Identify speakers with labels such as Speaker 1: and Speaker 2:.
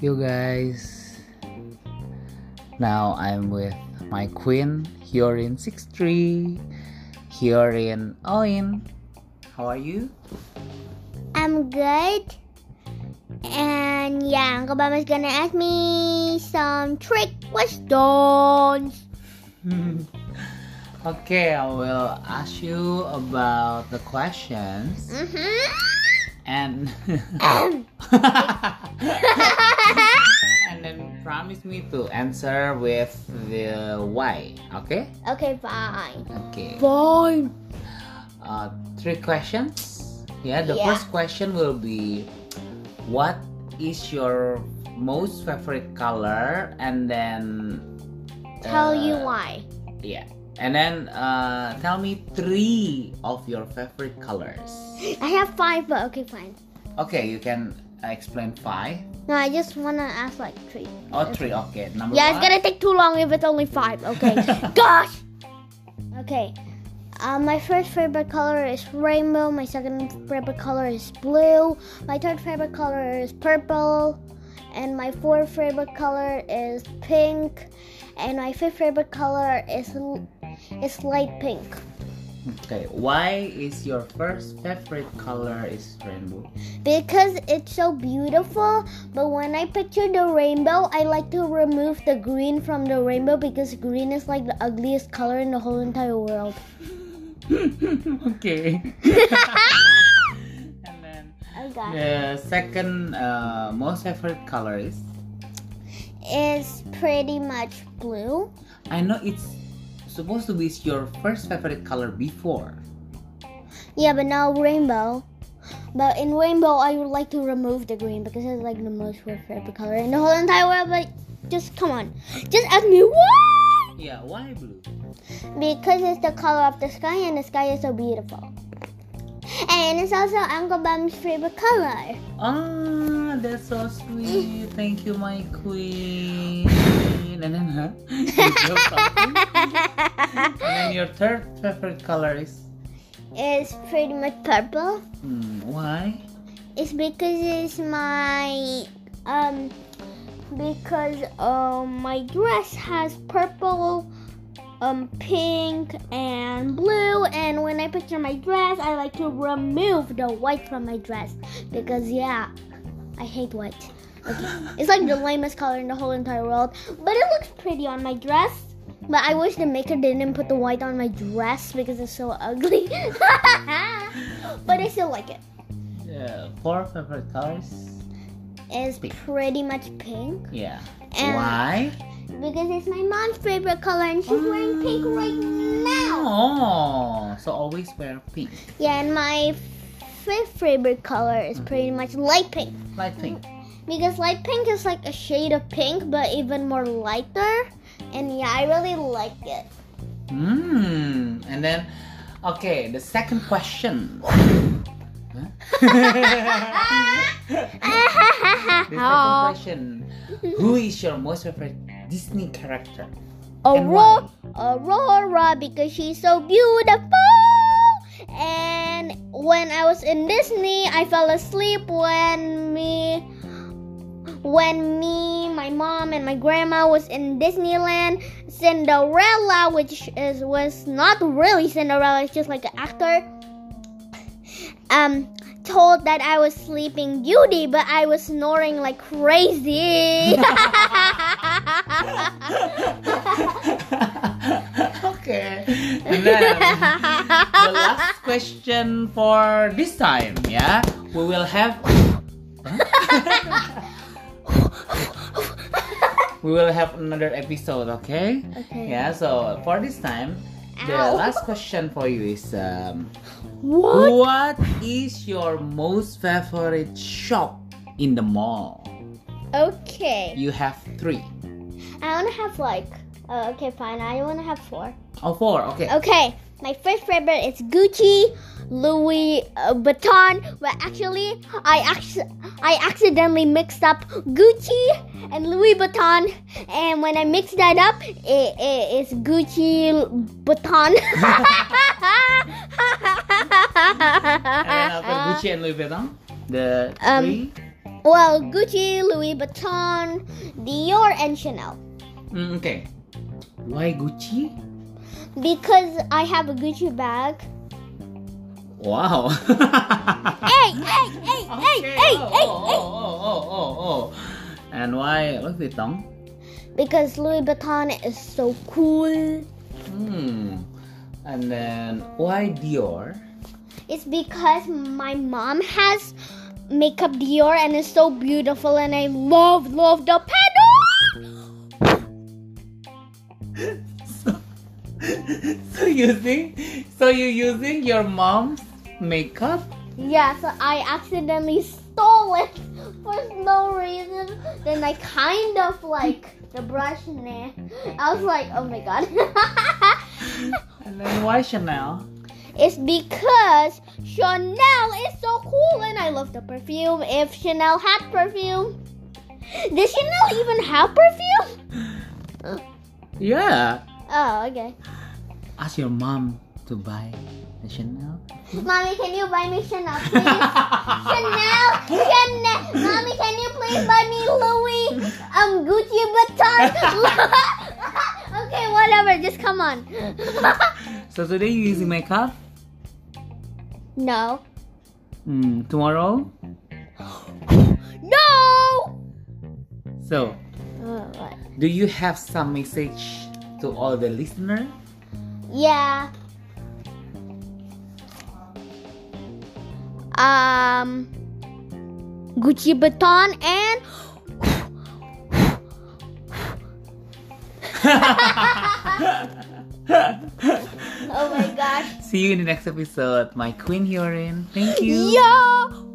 Speaker 1: you guys. Now I'm with my queen here in 63, here in Oin. How are you?
Speaker 2: I'm good. And yeah, Uncle Bama's gonna ask me some trick questions.
Speaker 1: Okay, I will ask you about the questions
Speaker 2: Mm-hmm.
Speaker 1: and and then promise me to answer with the why, okay?
Speaker 2: okay, fine.
Speaker 1: Okay.
Speaker 2: Fine.
Speaker 1: Uh, three questions. Yeah, the
Speaker 2: Yeah.
Speaker 1: first question will be what is your most favorite color and then
Speaker 2: Tell you
Speaker 1: uh,
Speaker 2: why.
Speaker 1: Yeah. And then uh, tell me three of your favorite colors.
Speaker 2: I have five, but okay, fine.
Speaker 1: Okay, you can explain five.
Speaker 2: No, I just wanna ask like three.
Speaker 1: Oh, three. Okay, number
Speaker 2: Yeah, it's
Speaker 1: one.
Speaker 2: gonna take too long if it's only five. Okay. Gosh. Okay. Uh, my first favorite color is rainbow. My second favorite color is blue. My third favorite color is purple. And my fourth favorite color is pink. And my fifth favorite color is l- is light pink.
Speaker 1: Okay, why is your first favorite color is rainbow?
Speaker 2: because it's so beautiful. But when I picture the rainbow, I like to remove the green from the rainbow because green is like the ugliest color in the whole entire world.
Speaker 1: okay. and then
Speaker 2: Oh god.
Speaker 1: the second uh, most favorite color is
Speaker 2: It's pretty much blue.
Speaker 1: I know it's supposed to be your first favorite color before.
Speaker 2: Yeah, but now rainbow. But in rainbow, I would like to remove the green because it's like the most favorite color in the whole entire world. But just come on, just ask me why.
Speaker 1: Yeah, why blue?
Speaker 2: Because it's the color of the sky and the sky is so beautiful. And it's also Uncle Bum's favorite color.
Speaker 1: Ah, that's so sweet. Thank you, my queen. And then, huh? You feel something? and then your third favorite color is
Speaker 2: it's pretty much purple.
Speaker 1: hmm, why?
Speaker 2: It's because it's my um because um my dress has purple, um pink and blue and when I picture my dress I like to remove the white from my dress because yeah, I hate white. Okay. It's like the lamest color in the whole entire world, but it looks pretty on my dress. But I wish the maker didn't put the white on my dress because it's so ugly. but I still like it.
Speaker 1: Uh, four favorite colors?
Speaker 2: is
Speaker 1: Pink.
Speaker 2: pretty much pink
Speaker 1: Yeah.
Speaker 2: And-
Speaker 1: why?
Speaker 2: because it's my mom's favorite color and she's wearing pink right now.
Speaker 1: Oh, so always wear pink,
Speaker 2: Yeah, and my fifth favorite color is pretty much light pink
Speaker 1: light pink.
Speaker 2: because light pink is like a shade of pink but even more lighter. And yeah, I really like it.
Speaker 1: Hmm. And then, okay, the second question. The second
Speaker 2: a
Speaker 1: question: Who is your most favorite Disney character? and why?
Speaker 2: Aurora, Aurora, because she's so beautiful. And when I was in Disney, I fell asleep when me, when me, my mom, and my grandma was in Disneyland. Cinderella, which is was not really Cinderella, it's just like an actor. Um. Told that I was sleeping beauty, but I was snoring like crazy.
Speaker 1: okay. And then the last question for this time, yeah, we will have. we will have another episode, okay?
Speaker 2: Okay.
Speaker 1: Yeah. So for this time, the
Speaker 2: Ow.
Speaker 1: last question for you is um,
Speaker 2: What?
Speaker 1: what is your most favorite shop in the mall?
Speaker 2: Okay.
Speaker 1: You have three.
Speaker 2: I want to have like. Oh, okay, fine. I want to have four.
Speaker 1: Oh, four. Okay.
Speaker 2: Okay. My first favorite is Gucci, Louis uh, Vuitton. But actually, I actu- I accidentally mixed up Gucci and Louis Vuitton. And when I mix that up, it, it is Gucci Vuitton.
Speaker 1: Uh, And then after Gucci and Louis Vuitton, the
Speaker 2: Uh, Um,
Speaker 1: three.
Speaker 2: Well, Gucci, Louis Vuitton, Dior, and Chanel.
Speaker 1: Mm, okay. Why Gucci?
Speaker 2: Because I have a Gucci bag.
Speaker 1: Wow.
Speaker 2: Hey, hey, hey, hey,
Speaker 1: Okay,
Speaker 2: hey,
Speaker 1: oh,
Speaker 2: hey,
Speaker 1: oh,
Speaker 2: hey.
Speaker 1: oh, oh, oh, oh. And why Louis Vuitton?
Speaker 2: Because Louis Vuitton is so cool.
Speaker 1: Hmm. And then why Dior?
Speaker 2: It's because my mom has makeup Dior and it's so beautiful and I love, love the pedal.
Speaker 1: so using, so you using your mom's makeup?
Speaker 2: Yeah, so I accidentally stole it for no reason. Then I kind of like the brush in it. I was like, oh my god.
Speaker 1: And then why Chanel?
Speaker 2: it's because Chanel is so cool and I love the perfume. If Chanel had perfume, did Chanel even have perfume?
Speaker 1: Yeah.
Speaker 2: Oh, okay.
Speaker 1: Ask your mom to buy the Chanel.
Speaker 2: Mommy, can you buy me Chanel, please? Chanel, Chanel. Mommy, can you please buy me Louis? Um, Gucci Vuitton. okay, whatever. Just come on.
Speaker 1: so today you using makeup.
Speaker 2: no.
Speaker 1: Hmm. tomorrow.
Speaker 2: No.
Speaker 1: So
Speaker 2: Oh, what?
Speaker 1: do you have some message to all the listener?
Speaker 2: Yeah. Um, Gucci Vuitton and oh my gosh. Oh
Speaker 1: See you in the next episode. My queen herein. Thank you.
Speaker 2: Yeah.